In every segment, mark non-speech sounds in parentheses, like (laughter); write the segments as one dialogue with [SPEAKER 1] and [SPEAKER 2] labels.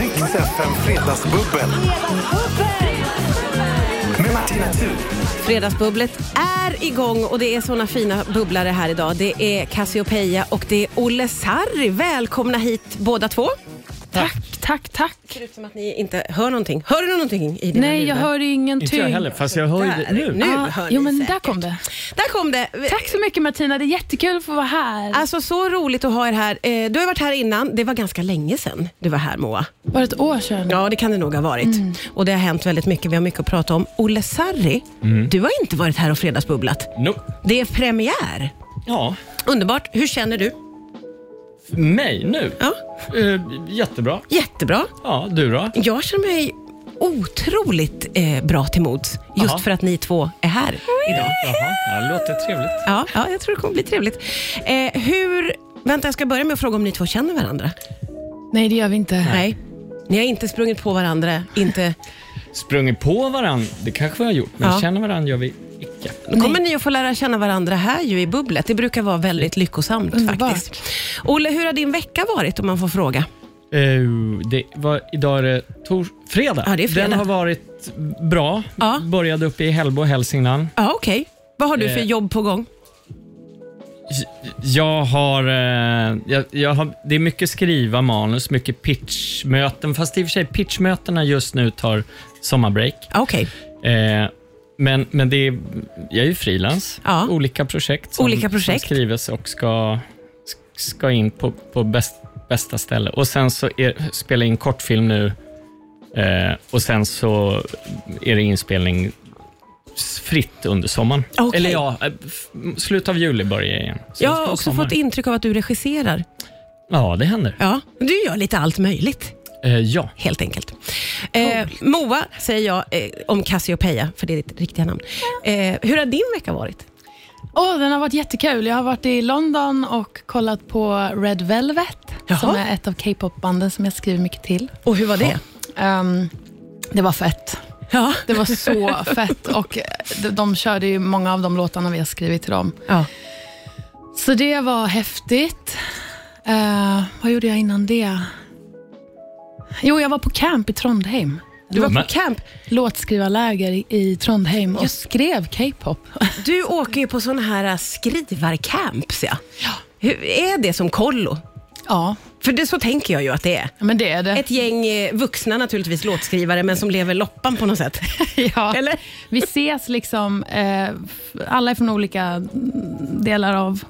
[SPEAKER 1] Riks FM Fredagsbubbel med Martina Thun.
[SPEAKER 2] Fredagsbubblet är igång och det är såna fina bubblare här idag. Det är Cassiopeia och det är Olle Sarri. Välkomna hit båda två.
[SPEAKER 3] Tack, tack, tack.
[SPEAKER 2] Förutom att ni inte hör någonting. Hör du någonting i dina
[SPEAKER 3] Nej, jag
[SPEAKER 2] lurar?
[SPEAKER 3] hör ingenting.
[SPEAKER 4] Inte jag heller, fast jag hör ju
[SPEAKER 2] Där,
[SPEAKER 4] det nu.
[SPEAKER 2] nu.
[SPEAKER 3] Ja,
[SPEAKER 2] hör ni
[SPEAKER 3] jo, men där
[SPEAKER 2] säkert.
[SPEAKER 3] kom det.
[SPEAKER 2] Där kom det.
[SPEAKER 3] Tack så mycket Martina, det är jättekul att få vara här.
[SPEAKER 2] Alltså så roligt att ha er här. Eh, Du har varit här innan. Det var ganska länge sedan du var här Moa.
[SPEAKER 3] Bara ett år sedan.
[SPEAKER 2] Ja, det kan det nog ha varit. Och det har hänt väldigt mycket. Vi har mycket att prata om. Olle Sarri, du har inte varit här och fredagsbubblat.
[SPEAKER 4] Nope.
[SPEAKER 2] Det är premiär.
[SPEAKER 4] Ja,
[SPEAKER 2] Underbart. Hur känner du?
[SPEAKER 4] för mig nu.
[SPEAKER 2] Ja,
[SPEAKER 4] Eh, jättebra.
[SPEAKER 2] jättebra.
[SPEAKER 4] Ja, du då?
[SPEAKER 2] Jag känner mig otroligt eh, bra till mods just
[SPEAKER 4] Jaha.
[SPEAKER 2] för att ni två är här idag.
[SPEAKER 4] Jaha, ja, det låter trevligt.
[SPEAKER 2] Ja, ja, jag tror det kommer bli trevligt. Eh, hur... Vänta, jag ska börja med att fråga om ni två känner varandra.
[SPEAKER 3] Nej, det gör vi inte.
[SPEAKER 2] Nej. Ni har inte sprungit på varandra, inte...
[SPEAKER 4] Sprungit på varandra, det kanske vi har gjort, men
[SPEAKER 2] Ja.
[SPEAKER 4] känner varandra gör vi icke.
[SPEAKER 2] Då kommer ni att få lära känna varandra här ju i bubblet. Det brukar vara väldigt lyckosamt
[SPEAKER 3] Underbart.
[SPEAKER 2] faktiskt. Olle, hur har din vecka varit om man får fråga?
[SPEAKER 4] Eh, det var, idag är det tors- fredag.
[SPEAKER 2] Ja, det är fredag.
[SPEAKER 4] Den har varit bra.
[SPEAKER 2] Ja.
[SPEAKER 4] Började uppe i Hällbo, Hälsingland.
[SPEAKER 2] Ja, okej. Vad har du för
[SPEAKER 4] Eh.
[SPEAKER 2] jobb på gång?
[SPEAKER 4] J- Jag har, eh, jag, jag har... Det är mycket skriva manus, mycket pitchmöten. Fast i och för sig, pitchmötena just nu tar sommarbreak.
[SPEAKER 2] Ja, Okej.
[SPEAKER 4] Eh, men men det är, jag är ju frilans.
[SPEAKER 2] Ja.
[SPEAKER 4] Olika projekt som,
[SPEAKER 2] Olika projekt.
[SPEAKER 4] som skrivs och ska, ska in på, på bäst, bästa ställe. Och sen så är, spelar jag in kortfilm nu eh, och sen så är det inspelning s- fritt under sommaren.
[SPEAKER 2] Okej.
[SPEAKER 4] Eller ja, eh, f- slutet av juli börjar jag igen. Så
[SPEAKER 2] Jag
[SPEAKER 4] det
[SPEAKER 2] har
[SPEAKER 4] ska
[SPEAKER 2] också
[SPEAKER 4] sommar.
[SPEAKER 2] fått intryck av att du regisserar.
[SPEAKER 4] Ja, det händer.
[SPEAKER 2] Ja, du gör lite allt möjligt.
[SPEAKER 4] Eh, ja.
[SPEAKER 2] helt enkelt. Eh, Moa säger jag eh, om Cassiopeia, för det är ditt riktiga namn. Eh, hur har din vecka varit?
[SPEAKER 3] Åh, den har varit jättekul. Jag har varit i London och kollat på Red Velvet,
[SPEAKER 2] Jaha.
[SPEAKER 3] som är ett av K-pop-banden som jag skriver mycket till.
[SPEAKER 2] Och hur var det?
[SPEAKER 3] Ehm, det var fett.
[SPEAKER 2] Ja.
[SPEAKER 3] Det
[SPEAKER 2] (laughs)
[SPEAKER 3] var så fett och de, de körde ju många av de låtarna vi har skrivit till dem.
[SPEAKER 2] ja.
[SPEAKER 3] Så det var häftigt. Eh, vad gjorde jag innan det? Jo, jag var på camp i Trondheim.
[SPEAKER 2] Du var på
[SPEAKER 4] Men-
[SPEAKER 2] camp.
[SPEAKER 3] Låtskrivarläger i, i Trondheim och skrev K-pop. (laughs)
[SPEAKER 2] Du åker ju på sådana här eh, skrivarcamps. Ja.
[SPEAKER 3] Ja.
[SPEAKER 2] Hur är det som kollo?
[SPEAKER 3] ja,
[SPEAKER 2] För det, så tänker jag ju att det är.
[SPEAKER 3] men det är det.
[SPEAKER 2] Ett gäng eh, vuxna naturligtvis, låtskrivare, men som lever loppan på något (laughs) sätt.
[SPEAKER 3] (laughs) ja.
[SPEAKER 2] Eller?
[SPEAKER 3] Vi ses liksom, eh, alla är från olika delar av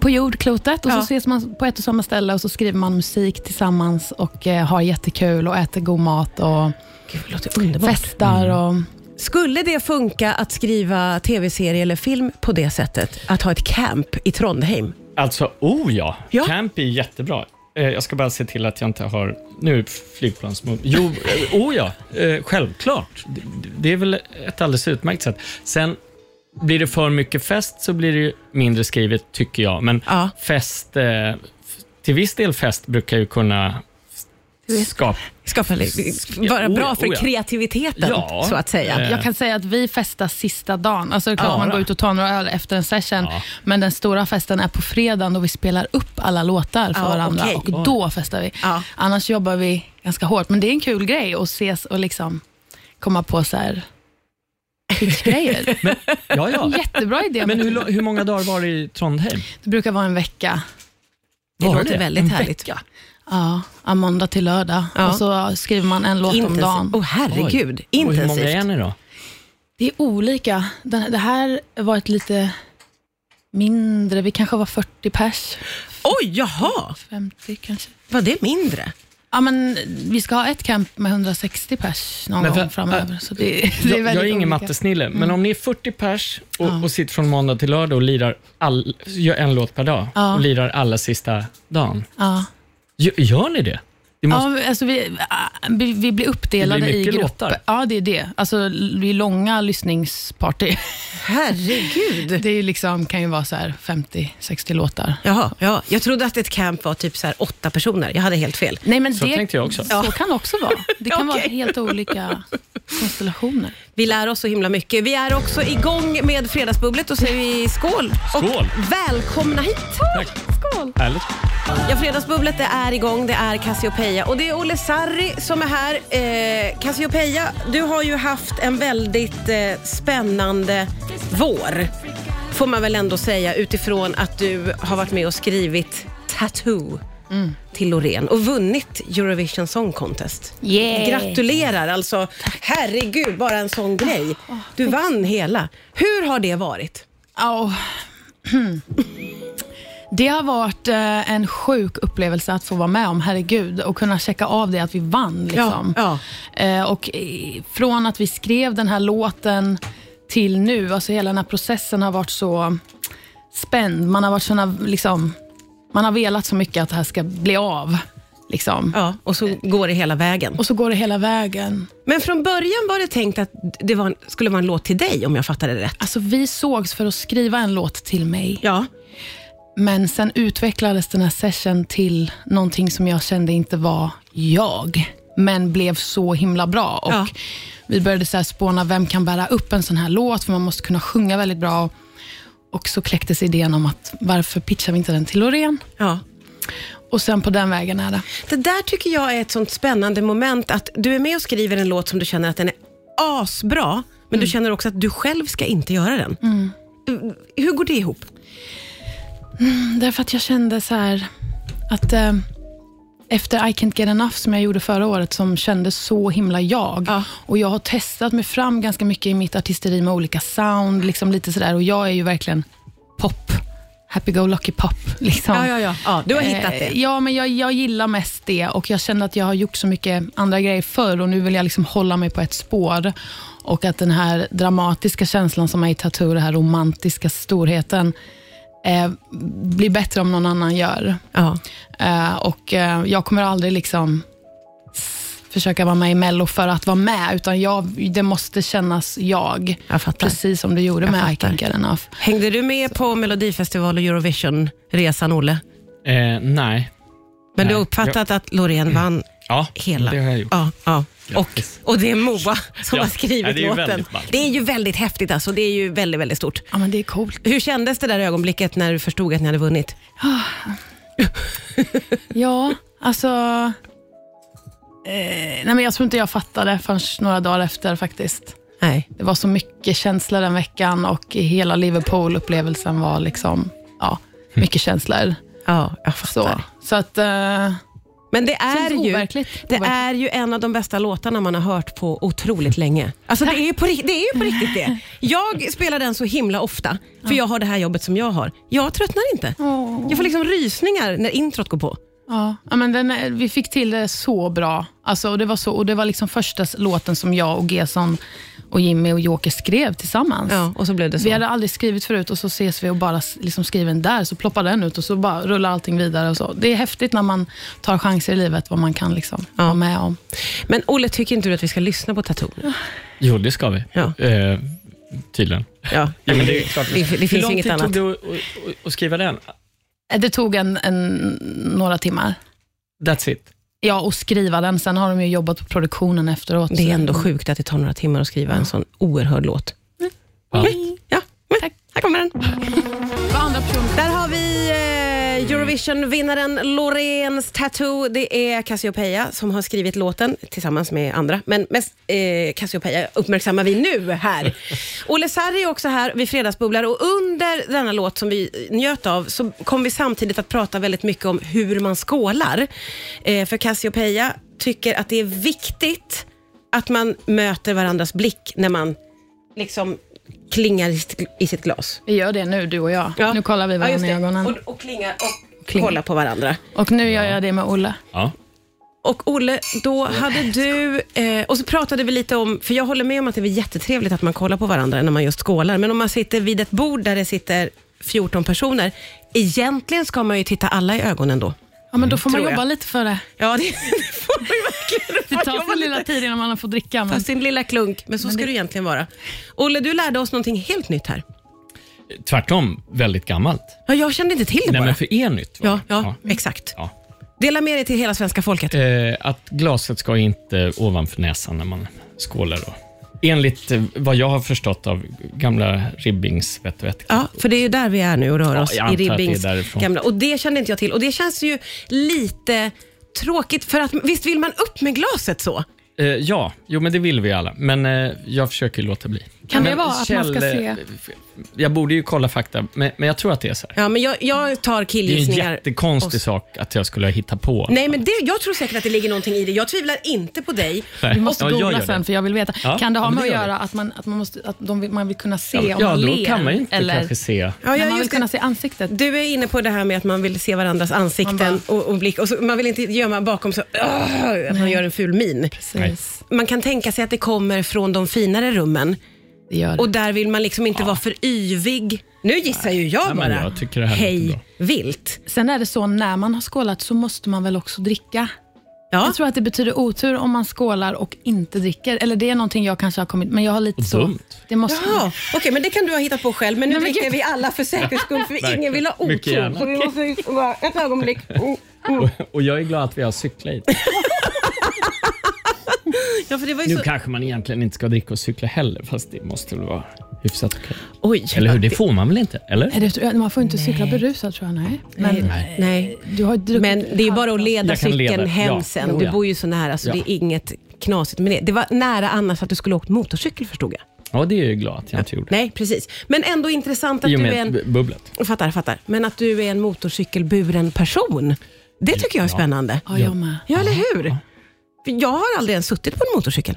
[SPEAKER 3] på jordklotet och
[SPEAKER 2] Ja.
[SPEAKER 3] så ses man på ett och samma ställe och så skriver man musik tillsammans och eh, har jättekul och äter god mat och
[SPEAKER 2] Gud, det låter underbart.
[SPEAKER 3] festar. Och,
[SPEAKER 2] Skulle det funka att skriva tv-serie eller film på det sättet? Att ha ett camp i Trondheim?
[SPEAKER 4] Alltså, oh ja.
[SPEAKER 2] Ja.
[SPEAKER 4] Camp är jättebra. Eh, Jag ska bara se till att jag inte har... Nu är det flygplansmod. Jo, eh, oh ja. Eh, Självklart. Det- Det är väl ett alldeles utmärkt sätt. Sen blir det för mycket fest så blir det ju mindre skrivet, tycker jag. Men
[SPEAKER 2] Ja.
[SPEAKER 4] fest... eh, f- Till viss del fest brukar ju kunna skapa...
[SPEAKER 2] ska för, vara
[SPEAKER 4] Ja, oh
[SPEAKER 2] bra
[SPEAKER 4] ja,
[SPEAKER 2] för
[SPEAKER 4] oh ja.
[SPEAKER 2] kreativiteten,
[SPEAKER 4] Ja.
[SPEAKER 2] så att säga.
[SPEAKER 4] Eh.
[SPEAKER 3] Jag kan säga att vi festar sista dagen. Alltså det är klart
[SPEAKER 4] Ja.
[SPEAKER 3] man går ut och tar några öl efter en session,
[SPEAKER 4] Ja.
[SPEAKER 3] men den stora festen är på fredagen då vi spelar upp alla låtar för
[SPEAKER 2] Ja,
[SPEAKER 3] varandra
[SPEAKER 2] okej.
[SPEAKER 3] och då festar vi.
[SPEAKER 2] Ja.
[SPEAKER 3] Annars jobbar vi ganska hårt, men det är en kul grej att ses och liksom komma på så här pitchgrejer.
[SPEAKER 4] Ja, ja.
[SPEAKER 2] (laughs)
[SPEAKER 3] Jättebra idé.
[SPEAKER 4] (laughs) Men hur, lo- hur många dagar var det i Trondheim?
[SPEAKER 3] Det brukar vara en vecka.
[SPEAKER 2] Det
[SPEAKER 4] Var
[SPEAKER 2] låter
[SPEAKER 4] det? Mm.
[SPEAKER 2] väldigt
[SPEAKER 4] En
[SPEAKER 2] härligt.
[SPEAKER 3] Ja, ja, måndag till lördag
[SPEAKER 2] Ja.
[SPEAKER 3] och så skriver man en låt om dagen.
[SPEAKER 2] Intensivt. Åh herregud,
[SPEAKER 4] Oj. Och hur många är
[SPEAKER 2] intensivt.
[SPEAKER 4] ni då?
[SPEAKER 3] Det är olika. Den- Det här var ett lite mindre, vi kanske var 40 pers,
[SPEAKER 2] Oj, jaha!
[SPEAKER 3] 50 kanske.
[SPEAKER 2] Var det mindre?
[SPEAKER 3] Ja, men vi ska ha ett camp med 160 pers någon
[SPEAKER 4] Men för- äh,
[SPEAKER 3] gång framöver. Så det, det är
[SPEAKER 4] Jag,
[SPEAKER 3] väldigt
[SPEAKER 4] jag är ingen
[SPEAKER 3] olika.
[SPEAKER 4] mattesnille, men
[SPEAKER 2] Mm.
[SPEAKER 4] om ni är 40 pers och,
[SPEAKER 3] Ja.
[SPEAKER 4] och sitter från måndag till lördag och lirar all, gör en låt per dag
[SPEAKER 3] Ja.
[SPEAKER 4] och lirar alla sista dagen.
[SPEAKER 3] Ja.
[SPEAKER 4] Gör, gör ni det? det måste,
[SPEAKER 3] Ja, alltså vi, ah, vi, vi blir uppdelade
[SPEAKER 4] Det blir
[SPEAKER 3] i
[SPEAKER 4] mycket
[SPEAKER 3] grupper.
[SPEAKER 4] låtar.
[SPEAKER 3] Ja, det är det. Alltså, det är långa lyssningsparty.
[SPEAKER 2] Herregud.
[SPEAKER 3] Det är ju liksom, kan ju vara så här 50-60 låtar.
[SPEAKER 2] Jaha, ja. Jag trodde att ett camp var typ så här åtta personer. Jag hade helt fel.
[SPEAKER 3] Nej, men
[SPEAKER 4] Så
[SPEAKER 3] det
[SPEAKER 4] tänkte jag också. (laughs)
[SPEAKER 3] Så kan det också vara. Det kan vara
[SPEAKER 2] Okej.
[SPEAKER 3] helt olika konstellationer.
[SPEAKER 2] Vi lär oss så himla mycket. Vi är också igång med Fredagsbubblet och säger vi skål.
[SPEAKER 4] Skål.
[SPEAKER 2] Och välkomna hit.
[SPEAKER 4] Tack.
[SPEAKER 2] Skål.
[SPEAKER 4] Härligt.
[SPEAKER 2] Ja, Fredagsbubblet det är igång. Det är Cassiopeia och det är Olle Sarri som är här. Eh, Cassiopeia, du har ju haft en väldigt eh, spännande vår. Får man väl ändå säga utifrån att du har varit med och skrivit Tattoo till Loreen och vunnit Eurovision Song Contest.
[SPEAKER 5] Yay.
[SPEAKER 2] Gratulerar alltså. Herregud, bara en sån grej. Du vann hela. Hur har det varit?
[SPEAKER 3] Ja. (clears throat) Det har varit eh, en sjuk upplevelse att få vara med om, herregud, och kunna checka av det att vi vann. Liksom.
[SPEAKER 2] Ja,
[SPEAKER 3] Eh, Och eh, från att vi skrev den här låten till nu, alltså hela den här processen har varit så spänd. Man har varit såna, liksom, man har velat så mycket att det här ska bli av. Liksom.
[SPEAKER 2] ja, och så går det hela vägen.
[SPEAKER 3] Och så går det hela vägen.
[SPEAKER 2] Men från början var det tänkt att det var, en- skulle vara en låt till dig om jag fattade det rätt.
[SPEAKER 3] Alltså, vi sågs för att skriva en låt till mig.
[SPEAKER 2] Ja.
[SPEAKER 3] Men sen utvecklades den här session till någonting som jag kände inte var jag, men blev så himla bra. Och
[SPEAKER 2] Ja.
[SPEAKER 3] Vi började så här spåna, vem kan bära upp en sån här låt? För man måste kunna sjunga väldigt bra. Och så kläcktes idén om att varför pitchar vi inte den till Loreen?
[SPEAKER 2] ja.
[SPEAKER 3] Och sen på den vägen är det.
[SPEAKER 2] Det där tycker jag är ett sånt spännande moment att du är med och skriver en låt som du känner att den är asbra, men du känner också att du själv ska inte göra den. Hur går det ihop?
[SPEAKER 3] Mm, Därför att jag kände så här att eh, efter I can't get enough som jag gjorde förra året, som kändes så himla jag.
[SPEAKER 2] Ja.
[SPEAKER 3] Och jag har testat mig fram ganska mycket i mitt artisteri med olika sound, liksom lite sådär. Och jag är ju verkligen pop. Happy-go-lucky pop. Liksom.
[SPEAKER 2] ja. ja du har hittat
[SPEAKER 3] Eh,
[SPEAKER 2] det.
[SPEAKER 3] Ja, men jag, jag gillar mest det och jag känner att jag har gjort så mycket andra grejer förr och nu vill jag liksom hålla mig på ett spår. Och att den här dramatiska känslan som är i Tattoo, den här romantiska storheten, eh, blir bättre om någon annan gör.
[SPEAKER 2] Ja.
[SPEAKER 3] Eh, och eh, jag kommer aldrig liksom s- försöka vara med i Mello för att vara med, utan jag, det måste kännas jag.
[SPEAKER 2] Jag fattar.
[SPEAKER 3] Precis som du gjorde
[SPEAKER 2] Jag
[SPEAKER 3] med I
[SPEAKER 2] fattar.
[SPEAKER 3] can't get enough.
[SPEAKER 2] Hängde du med på Melodifestival och Eurovision-resan, Olle?
[SPEAKER 4] Eh, nej.
[SPEAKER 2] Men du
[SPEAKER 4] Nej,
[SPEAKER 2] har uppfattat att Loreen vann
[SPEAKER 4] Ja,
[SPEAKER 2] hela?
[SPEAKER 4] det har jag gjort.
[SPEAKER 2] Ja, ja. Och,
[SPEAKER 4] Grattis.
[SPEAKER 2] och det är Moa som
[SPEAKER 4] Ja.
[SPEAKER 2] har skrivit
[SPEAKER 4] Ja, det är ju
[SPEAKER 2] låten.
[SPEAKER 4] väldigt ballt.
[SPEAKER 2] Det är ju väldigt häftigt alltså. Det är ju väldigt, väldigt stort.
[SPEAKER 3] Ja, men det är coolt.
[SPEAKER 2] Hur kändes det där ögonblicket när du förstod att ni hade vunnit?
[SPEAKER 3] Ja, alltså... Eh, nej men jag tror inte jag fattade förrän några dagar efter faktiskt.
[SPEAKER 2] Nej.
[SPEAKER 3] Det var så mycket känslor den veckan och hela Liverpool-upplevelsen var liksom, ja, mycket känslor.
[SPEAKER 2] Ja, jag
[SPEAKER 3] Så,
[SPEAKER 2] fattar.
[SPEAKER 3] så att, eh,
[SPEAKER 2] Men det är,
[SPEAKER 3] Känns
[SPEAKER 2] ju,
[SPEAKER 3] overkligt.
[SPEAKER 2] det
[SPEAKER 3] Overkligt.
[SPEAKER 2] är ju en av de bästa låtarna man har hört på otroligt länge. Alltså det, är ju på, ri- det är ju på riktigt det. Jag spelar den så himla ofta, för jag har det här jobbet som jag har. Jag tröttnar inte. Jag får liksom rysningar när introt går på.
[SPEAKER 3] ja, ja, men den, är- vi fick till det så bra. Alltså, och, det var så, och det var liksom första låten som jag och Gesson och Jimmy och Joker skrev tillsammans.
[SPEAKER 2] Ja, och så blev det så.
[SPEAKER 3] Vi hade aldrig skrivit förut och så ses vi och bara s- liksom skriver en där, så ploppar den ut och så bara rullar allting vidare. Och så. Det är häftigt när man tar chanser i livet, vad man kan liksom vara med om.
[SPEAKER 2] Men Olle, tycker inte du att vi ska lyssna på Tattoo? nu?
[SPEAKER 4] Jo, det ska vi.
[SPEAKER 2] Ja.
[SPEAKER 4] Eh, tydligen.
[SPEAKER 2] Ja.
[SPEAKER 4] Ja, men det är klart.
[SPEAKER 2] Det- det finns
[SPEAKER 4] Hur lång
[SPEAKER 2] inget
[SPEAKER 4] tid
[SPEAKER 2] annat.
[SPEAKER 4] tog det att- att- att- att skriva den?
[SPEAKER 3] Eh, Det tog en, en, några timmar.
[SPEAKER 4] That's it.
[SPEAKER 3] Ja, och skriva den. Sen har de ju jobbat på produktionen efteråt.
[SPEAKER 2] Det är
[SPEAKER 3] så-
[SPEAKER 2] ändå sjukt att det tar några timmar att skriva en sån oerhörd låt.
[SPEAKER 4] Ja.
[SPEAKER 2] Mm. Ja, mm.
[SPEAKER 3] Tack.
[SPEAKER 2] här kommer den.
[SPEAKER 3] Vad andra personer-
[SPEAKER 2] Där har vi eh, Eurovision-vinnaren Loreens Tattoo. Det är Cassiopeia som har skrivit låten tillsammans med andra. Men mest eh, Cassiopeia uppmärksammar vi nu här. Olle Sarri är också här vid Fredagsbubblar och under denna låt som vi njöt av så kom vi samtidigt att prata väldigt mycket om hur man skålar. Eh, för Cassiopeia tycker att det är viktigt att man möter varandras blick när man liksom klingar i sitt, i sitt glas.
[SPEAKER 3] Vi gör det nu, du och jag. Nu kollar vi
[SPEAKER 2] Ja, just
[SPEAKER 3] varandra i
[SPEAKER 2] det.
[SPEAKER 3] ögonen. Och,
[SPEAKER 2] Och, och klingar och
[SPEAKER 3] Klingar.
[SPEAKER 2] kollar på varandra.
[SPEAKER 3] nu gör jag det med Olle.
[SPEAKER 4] Ja.
[SPEAKER 2] Och Olle, då hade du... Eh, och så pratade vi lite om, för jag håller med om att det är jättetrevligt att man kollar på varandra när man just skålar, men om man sitter vid ett bord där det sitter 14 personer, egentligen ska man ju titta alla i ögonen då.
[SPEAKER 3] Ja, men då får man
[SPEAKER 2] Tror jag.
[SPEAKER 3] jobba lite för det.
[SPEAKER 2] Ja, det, (laughs) det får man ju verkligen.
[SPEAKER 3] Det
[SPEAKER 2] Man
[SPEAKER 3] tar
[SPEAKER 2] jobbar
[SPEAKER 3] sin lilla
[SPEAKER 2] lite.
[SPEAKER 3] tid innan man får dricka.
[SPEAKER 2] Ta
[SPEAKER 3] Men...
[SPEAKER 2] sin lilla klunk, men så ska du egentligen vara. Olle, du lärde oss någonting helt nytt här.
[SPEAKER 4] Tvärtom, väldigt gammalt.
[SPEAKER 2] Ja, jag kände inte till det
[SPEAKER 4] Nej,
[SPEAKER 2] bara.
[SPEAKER 4] men för er nytt. var
[SPEAKER 2] Ja,
[SPEAKER 4] det.
[SPEAKER 2] ja, exakt.
[SPEAKER 4] Ja.
[SPEAKER 2] Dela med dig till hela svenska folket.
[SPEAKER 4] Eh, att glaset ska inte ovanför näsan när man skålar. Då. enligt eh, vad jag har förstått av gamla Ribbings vett och vett.
[SPEAKER 2] Ja, för det är ju där vi är nu och rör
[SPEAKER 4] Ja,
[SPEAKER 2] oss
[SPEAKER 4] jag antar
[SPEAKER 2] i
[SPEAKER 4] att det är
[SPEAKER 2] Ribbings
[SPEAKER 4] därifrån.
[SPEAKER 2] gamla. Och det kände inte jag till. Och det känns ju lite tråkigt för att visst vill man upp med glaset så?
[SPEAKER 4] Eh, ja, jo men det vill vi alla. Men eh, jag försöker låta bli.
[SPEAKER 3] Kan det
[SPEAKER 4] men,
[SPEAKER 3] vara att man ska se-
[SPEAKER 4] eh, Jag borde ju kolla fakta, men, men jag tror att det är så här.
[SPEAKER 2] Ja, men jag, jag tar
[SPEAKER 4] Det är en
[SPEAKER 2] killgissningar.
[SPEAKER 4] jättekonstig
[SPEAKER 2] Och-
[SPEAKER 4] sak att jag skulle hitta på.
[SPEAKER 2] Nej, men det, jag tror säkert att det ligger någonting i det. Jag tvivlar inte på dig.
[SPEAKER 4] Nej.
[SPEAKER 3] Du måste
[SPEAKER 4] Ja, jag gör
[SPEAKER 3] googla
[SPEAKER 4] det.
[SPEAKER 3] sen för jag vill veta.
[SPEAKER 4] Ja,
[SPEAKER 3] kan det ha
[SPEAKER 4] ja, men
[SPEAKER 3] med att
[SPEAKER 4] det gör
[SPEAKER 3] göra att man, att man, måste, att de vill, man vill kunna se om
[SPEAKER 4] Ja,
[SPEAKER 3] man ler?
[SPEAKER 4] då kan man ju inte
[SPEAKER 3] eller,
[SPEAKER 4] kanske se.
[SPEAKER 2] Ja,
[SPEAKER 3] men
[SPEAKER 2] ja,
[SPEAKER 3] man vill
[SPEAKER 2] just
[SPEAKER 3] kunna
[SPEAKER 2] det.
[SPEAKER 3] se ansiktet.
[SPEAKER 2] Du är inne på det här med att man vill se varandras ansikten
[SPEAKER 3] Man
[SPEAKER 2] och, och blick. Och så, man vill inte gömma bakom så, "Åh", att man gör en ful min.
[SPEAKER 3] Precis,
[SPEAKER 2] Man kan tänka sig att det kommer från de finare rummen
[SPEAKER 3] det gör det.
[SPEAKER 2] och där vill man liksom inte vara för yvig. Nu gissar ju jag
[SPEAKER 4] men
[SPEAKER 2] bara.
[SPEAKER 4] jag tycker det här låter
[SPEAKER 2] Hej
[SPEAKER 4] bra.
[SPEAKER 2] vilt.
[SPEAKER 3] Sen är det så, när man har skålat så måste man väl också dricka?
[SPEAKER 2] Ja.
[SPEAKER 3] Jag tror att det betyder otur om man skålar och inte dricker. Eller det är någonting jag kanske har kommit... Men jag har lite så...
[SPEAKER 4] Dumt.
[SPEAKER 3] Det måste
[SPEAKER 2] Jaha, okej men det kan du ha hittat på själv. Men nu
[SPEAKER 3] Nej, men
[SPEAKER 2] dricker vi alla för säkerhets skull för ingen vill ha
[SPEAKER 4] Mycket
[SPEAKER 2] otur.
[SPEAKER 4] gärna.
[SPEAKER 2] Så vi måste ju bara, ett
[SPEAKER 4] (laughs)
[SPEAKER 2] ögonblick. Oh.
[SPEAKER 4] Och, och jag är glad att vi har cyklat hit.
[SPEAKER 2] Ja, för det
[SPEAKER 3] (laughs)
[SPEAKER 2] var ju
[SPEAKER 4] Nu
[SPEAKER 2] så...
[SPEAKER 4] kanske man egentligen inte ska dricka och cykla heller, fast det måste väl vara hyfsat okej.
[SPEAKER 2] Oj.
[SPEAKER 4] Eller hur? Det får man väl inte? Eller?
[SPEAKER 3] Är det, man får inte cykla berusad tror jag, nej. Men,
[SPEAKER 4] Nej.
[SPEAKER 2] Nej.
[SPEAKER 3] Du har ju druckit
[SPEAKER 2] Men det är ju bara att leda
[SPEAKER 4] Jag kan
[SPEAKER 2] cykeln
[SPEAKER 4] leda,
[SPEAKER 2] hem
[SPEAKER 4] ja.
[SPEAKER 2] sen.
[SPEAKER 4] Jo,
[SPEAKER 2] Du
[SPEAKER 4] ja.
[SPEAKER 2] bor ju så nära så
[SPEAKER 4] Ja.
[SPEAKER 2] det är inget knasigt med det. Det var nära annars att du skulle ha åkt motorcykel förstod jag.
[SPEAKER 4] Ja, det är jag ju glad att jag inte gjorde.
[SPEAKER 2] Nej, precis. Men ändå intressant att
[SPEAKER 4] I och
[SPEAKER 2] du är
[SPEAKER 4] med
[SPEAKER 2] en...
[SPEAKER 4] bu- bubblet.
[SPEAKER 2] Fattar, fattar. Men att du är en motorcykelburen person. Det tycker jag är
[SPEAKER 4] Ja.
[SPEAKER 2] spännande.
[SPEAKER 3] Ja, jag med.
[SPEAKER 2] Ja, eller hur? För Jag har aldrig ens suttit på en motorcykel.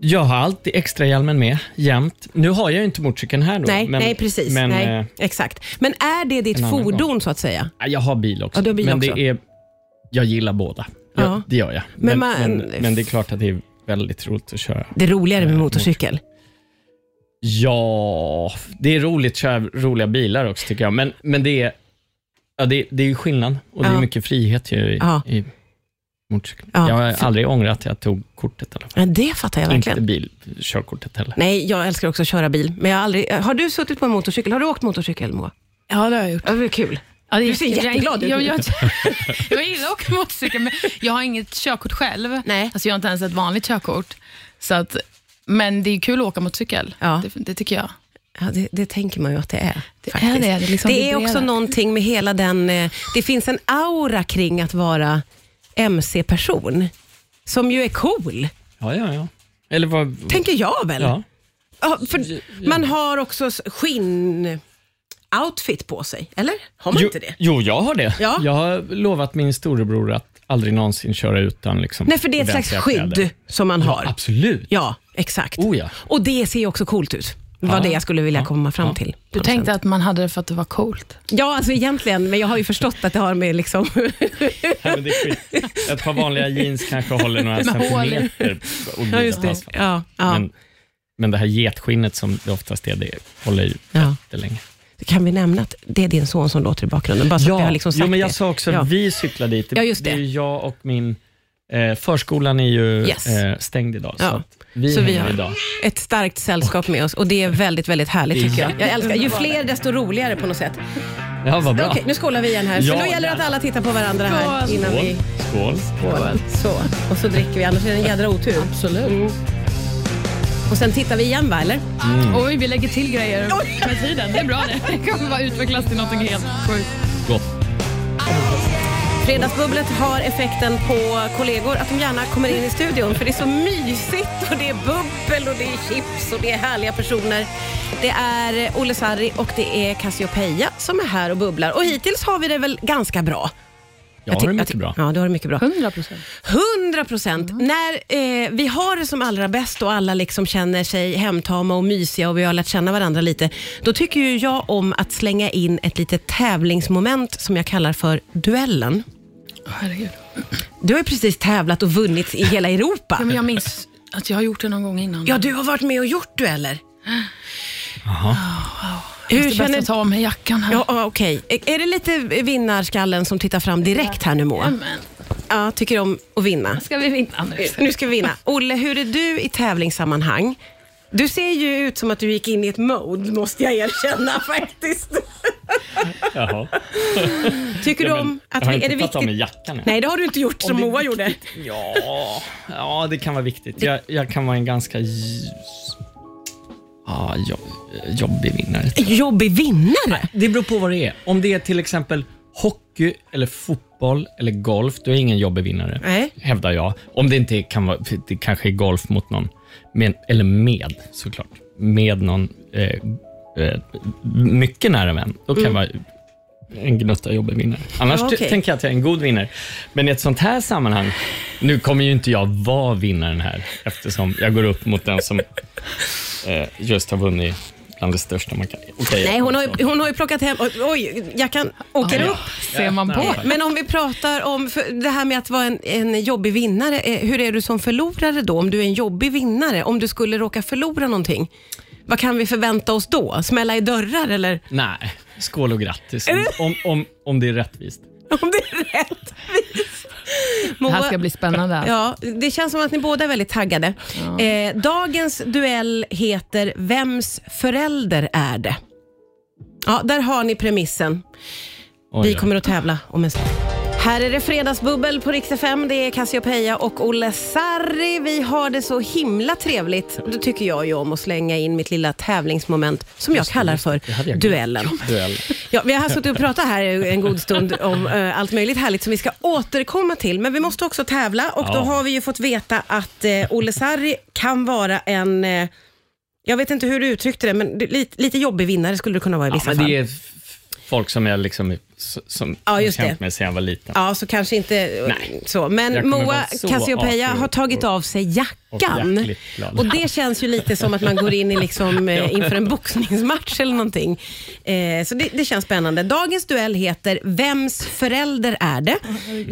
[SPEAKER 4] Jag har alltid extra hjälmen med, jämt. Nu har jag ju inte motorcykeln här då.
[SPEAKER 2] nej,
[SPEAKER 4] men,
[SPEAKER 2] nej, precis.
[SPEAKER 4] Men
[SPEAKER 2] nej,
[SPEAKER 4] eh,
[SPEAKER 2] exakt. Men är det ditt
[SPEAKER 4] en annan
[SPEAKER 2] fordon
[SPEAKER 4] gång.
[SPEAKER 2] så att säga?
[SPEAKER 4] ja, jag har bil också.
[SPEAKER 2] Ja, du har bil
[SPEAKER 4] men
[SPEAKER 2] också.
[SPEAKER 4] det är... Jag gillar båda. Jag,
[SPEAKER 2] Ja.
[SPEAKER 4] Det gör jag.
[SPEAKER 2] Men
[SPEAKER 4] Men, men,
[SPEAKER 2] man-
[SPEAKER 4] men, det är klart att det är väldigt roligt att köra.
[SPEAKER 2] Det är roligare med
[SPEAKER 4] Eh,
[SPEAKER 2] motorcykel.
[SPEAKER 4] Ja, det är roligt att köra roliga bilar också tycker jag. Men, men det, är, ja, det, det är ju skillnad och det
[SPEAKER 2] Ja.
[SPEAKER 4] är mycket frihet ju i,
[SPEAKER 2] Ja.
[SPEAKER 4] i motorcykeln.
[SPEAKER 2] Ja.
[SPEAKER 4] Jag har aldrig ångrat att jag tog kortet i alla fall.
[SPEAKER 2] Ja, det fattar jag
[SPEAKER 4] Inte
[SPEAKER 2] verkligen.
[SPEAKER 4] bilkörkortet heller.
[SPEAKER 2] Nej, jag älskar också att köra bil. Men jag har, aldrig... har du suttit på en motorcykel? Har du åkt motorcykel, Moa?
[SPEAKER 3] Ja, det har jag gjort.
[SPEAKER 2] Ja, det är kul.
[SPEAKER 3] Ja, det
[SPEAKER 2] Du ser jätteglad ut.
[SPEAKER 3] Jag, jag, jag (laughs) gillar att åka motorcykel, men jag har inget körkort själv.
[SPEAKER 2] Nej.
[SPEAKER 3] Alltså, jag har inte ens ett vanligt körkort. Så att, men det är kul att åka motorcykel.
[SPEAKER 2] Ja.
[SPEAKER 3] Det, det tycker jag.
[SPEAKER 2] Ja, det, det tänker man ju att det är.
[SPEAKER 3] Det
[SPEAKER 2] faktiskt.
[SPEAKER 3] är det, det liksom
[SPEAKER 2] det är
[SPEAKER 3] vibrerar.
[SPEAKER 2] också någonting med hela den... eh, Det finns en aura kring att vara MC-person, som ju är cool,
[SPEAKER 4] Ja, ja, ja. Eller vad...
[SPEAKER 2] tänker jag väl.
[SPEAKER 4] ja.
[SPEAKER 2] Ja, för man har också s- skinn-outfit på sig, eller? Har man
[SPEAKER 4] jo,
[SPEAKER 2] inte det?
[SPEAKER 4] jo, jag har det.
[SPEAKER 2] Ja.
[SPEAKER 4] Jag har lovat min storebror att aldrig någonsin köra utan liksom,
[SPEAKER 2] Nej, för det är ett slags
[SPEAKER 4] ordentliga
[SPEAKER 2] skydd
[SPEAKER 4] kläder.
[SPEAKER 2] som man har. Ja,
[SPEAKER 4] Absolut.
[SPEAKER 2] exakt.
[SPEAKER 4] Oh, ja.
[SPEAKER 2] Och det ser ju också coolt ut. var
[SPEAKER 4] Ja.
[SPEAKER 2] det jag skulle vilja
[SPEAKER 4] Ja.
[SPEAKER 2] komma fram
[SPEAKER 4] Ja.
[SPEAKER 2] till. på
[SPEAKER 3] Du
[SPEAKER 2] något
[SPEAKER 3] tänkte
[SPEAKER 2] sätt.
[SPEAKER 3] att man hade det för att det var coolt.
[SPEAKER 2] Ja, alltså egentligen, men jag har ju förstått att det har med liksom...
[SPEAKER 4] Nej, men det är skit. Ett par vanliga jeans kanske håller
[SPEAKER 2] (laughs)
[SPEAKER 4] några
[SPEAKER 3] Med hål i.
[SPEAKER 4] centimeter. Och
[SPEAKER 2] ja, just det.
[SPEAKER 4] fast.
[SPEAKER 2] Ja, ja.
[SPEAKER 4] Men, men det här getskinnet som det oftast är, det håller ju
[SPEAKER 2] Ja.
[SPEAKER 4] jättelänge.
[SPEAKER 2] Kan vi nämna att det är din son som låter i bakgrunden? Bara så att vi har liksom sagt
[SPEAKER 4] jo, men jag
[SPEAKER 2] det.
[SPEAKER 4] sa också,
[SPEAKER 2] Ja.
[SPEAKER 4] vi cyklar dit.
[SPEAKER 2] Ja, just det.
[SPEAKER 4] är ju jag och min... Eh, förskolan är ju
[SPEAKER 2] Yes.
[SPEAKER 4] eh, stängd idag,
[SPEAKER 2] Ja.
[SPEAKER 4] så att vi
[SPEAKER 2] Så vi
[SPEAKER 4] hänger
[SPEAKER 2] har-
[SPEAKER 4] idag.
[SPEAKER 2] Ett starkt sällskap med oss och det är väldigt, väldigt härligt tycker jag. Jag älskar Ju fler desto roligare på något sätt.
[SPEAKER 4] Ja, vad bra.
[SPEAKER 2] Okej, nu skålar vi igen här.
[SPEAKER 4] Ja,
[SPEAKER 2] för då gäller det att alla tittar på varandra här
[SPEAKER 3] Skål.
[SPEAKER 2] innan vi...
[SPEAKER 4] Skål.
[SPEAKER 2] Skål. Så. Och så dricker vi, annars är det en jädra otur.
[SPEAKER 3] Absolut.
[SPEAKER 2] Och sen tittar vi igen va, eller?
[SPEAKER 3] Mm. Oj, vi lägger till grejer med tiden. Det är bra det. Det (laughs) kommer bara utvecklas till någonting helt sjukt.
[SPEAKER 4] Gott.
[SPEAKER 2] Fredagsbubblet har effekten på kollegor att de gärna kommer in i studion för det är så mysigt och det är bubbel och det är chips och det är härliga personer. Det är Olle Sarri och det är Cassiopeia som är här och bubblar och hittills har vi det väl ganska bra.
[SPEAKER 4] Jag har
[SPEAKER 2] ty-
[SPEAKER 4] det
[SPEAKER 2] ty-
[SPEAKER 4] mycket bra.
[SPEAKER 2] Ja, du har det mycket bra.
[SPEAKER 3] 100 procent.
[SPEAKER 2] 100 procent. När eh, vi har det som allra bäst och alla liksom känner sig hemtama och mysiga och vi har lärt känna varandra lite, då tycker ju jag om att slänga in ett litet tävlingsmoment som jag kallar för duellen.
[SPEAKER 3] Herregud.
[SPEAKER 2] Du har ju precis tävlat och vunnit i hela Europa.
[SPEAKER 3] Ja, men jag minns att jag har gjort det någon gång innan.
[SPEAKER 2] Ja, du har varit med och gjort dueller.
[SPEAKER 3] det
[SPEAKER 2] Hur
[SPEAKER 3] är bäst
[SPEAKER 2] känner
[SPEAKER 3] att ta av mig jackan här.
[SPEAKER 2] Ja, ja, okej. Är det lite vinnarskallen som tittar fram direkt här nu, Moa?
[SPEAKER 3] Men,
[SPEAKER 2] Ja, tycker om att vinna.
[SPEAKER 3] ska vi vinna nu?
[SPEAKER 2] Nu ska vi vinna. Olle, hur är du i tävlingssammanhang? Du ser ju ut som att du gick in i ett mode, måste jag erkänna (laughs) faktiskt.
[SPEAKER 4] Jaha.
[SPEAKER 2] Tycker du
[SPEAKER 4] Ja, men
[SPEAKER 2] om
[SPEAKER 4] jag
[SPEAKER 2] att
[SPEAKER 4] har
[SPEAKER 2] vi,
[SPEAKER 4] inte
[SPEAKER 2] är det
[SPEAKER 4] pratat
[SPEAKER 2] viktigt?
[SPEAKER 4] om jackan än.
[SPEAKER 2] Nej, det har du inte gjort som
[SPEAKER 4] det är
[SPEAKER 2] Moa gjorde.
[SPEAKER 4] Ja, ja, det kan vara viktigt. Jag, jag kan vara en ganska ljus... Ja, jobb, jobbig vinnare.
[SPEAKER 2] Jobbig vinnare.
[SPEAKER 4] Det beror på vad det är. Om det är till exempel hockey, eller fotboll eller golf, då är jag ingen jobbig vinnare.
[SPEAKER 2] Nej.
[SPEAKER 4] Hävdar jag. Om det inte kan vara, för det kanske är golf mot någon. Men, eller med, såklart. Med någon eh, eh, mycket nära vän. Då kan jag vara en gnutta jobbig vinnare. Annars
[SPEAKER 2] Mm. Ja, okej.
[SPEAKER 4] t- tänker jag att jag är en god vinnare. Men i ett sånt här sammanhang, nu kommer ju inte jag vara vinnaren här, eftersom jag går upp mot den som eh, just har vunnit bland det största man kan. Okej,
[SPEAKER 2] Nej,
[SPEAKER 4] jag-
[SPEAKER 2] hon har, ju, hon har ju plockat hem... Oj, jackan åker upp.
[SPEAKER 3] Ser man på.
[SPEAKER 2] Men om vi pratar om för det här med att vara en, en jobbig vinnare. eh, Hur är du som förlorare då? Om du är en jobbig vinnare, om du skulle råka förlora någonting. Vad kan vi förvänta oss då? Smälla i dörrar eller? (laughs)
[SPEAKER 4] Nej, skål och grattis om, om, om, om det är rättvist.
[SPEAKER 2] Om det är rätt.
[SPEAKER 3] Det här ska bli spännande. alltså.
[SPEAKER 2] Ja, det känns som att ni båda är väldigt taggade. Eh, dagens duell heter Vems förälder är det? Ja, där har ni premissen.
[SPEAKER 4] Oj,
[SPEAKER 2] Vi
[SPEAKER 4] ja.
[SPEAKER 2] kommer att tävla om en stund. Här är det fredagsbubbel på Rix FM. Det är Cassiopeia och Olle Sarri. Vi har det så himla trevligt. Då tycker jag ju om att slänga in mitt lilla tävlingsmoment som jag kallar för
[SPEAKER 4] det hade jag glömt.
[SPEAKER 2] duellen.
[SPEAKER 4] Duell.
[SPEAKER 2] (laughs) Ja, vi har suttit och pratat här en god stund om eh, allt möjligt härligt som vi ska återkomma till. Men vi måste också tävla och då
[SPEAKER 4] Ja.
[SPEAKER 2] har vi ju fått veta att eh, Olle Sarri kan vara en, eh, jag vet inte hur du uttryckte det, men det- lite, lite jobbig vinnare skulle det kunna vara i
[SPEAKER 4] Ja,
[SPEAKER 2] vissa
[SPEAKER 4] men
[SPEAKER 2] fall.
[SPEAKER 4] det är f- folk som jag liksom, s- som
[SPEAKER 2] Ja,
[SPEAKER 4] har
[SPEAKER 2] just
[SPEAKER 4] känt
[SPEAKER 2] det.
[SPEAKER 4] mig sedan jag var liten.
[SPEAKER 2] Ja, så kanske inte
[SPEAKER 4] Nej.
[SPEAKER 2] så.
[SPEAKER 4] Jag
[SPEAKER 2] Men
[SPEAKER 4] kommer vara
[SPEAKER 2] Moa
[SPEAKER 4] så
[SPEAKER 2] Cassiopeia
[SPEAKER 4] artig och-
[SPEAKER 2] har tagit av sig
[SPEAKER 4] och
[SPEAKER 2] jackan.
[SPEAKER 4] jäkligt glad.
[SPEAKER 2] Och det känns ju lite som att man går in i liksom,
[SPEAKER 4] (laughs)
[SPEAKER 2] eh, inför en boxningsmatch eller någonting. Eh, så det, det känns spännande. Dagens duell heter Vems förälder är det?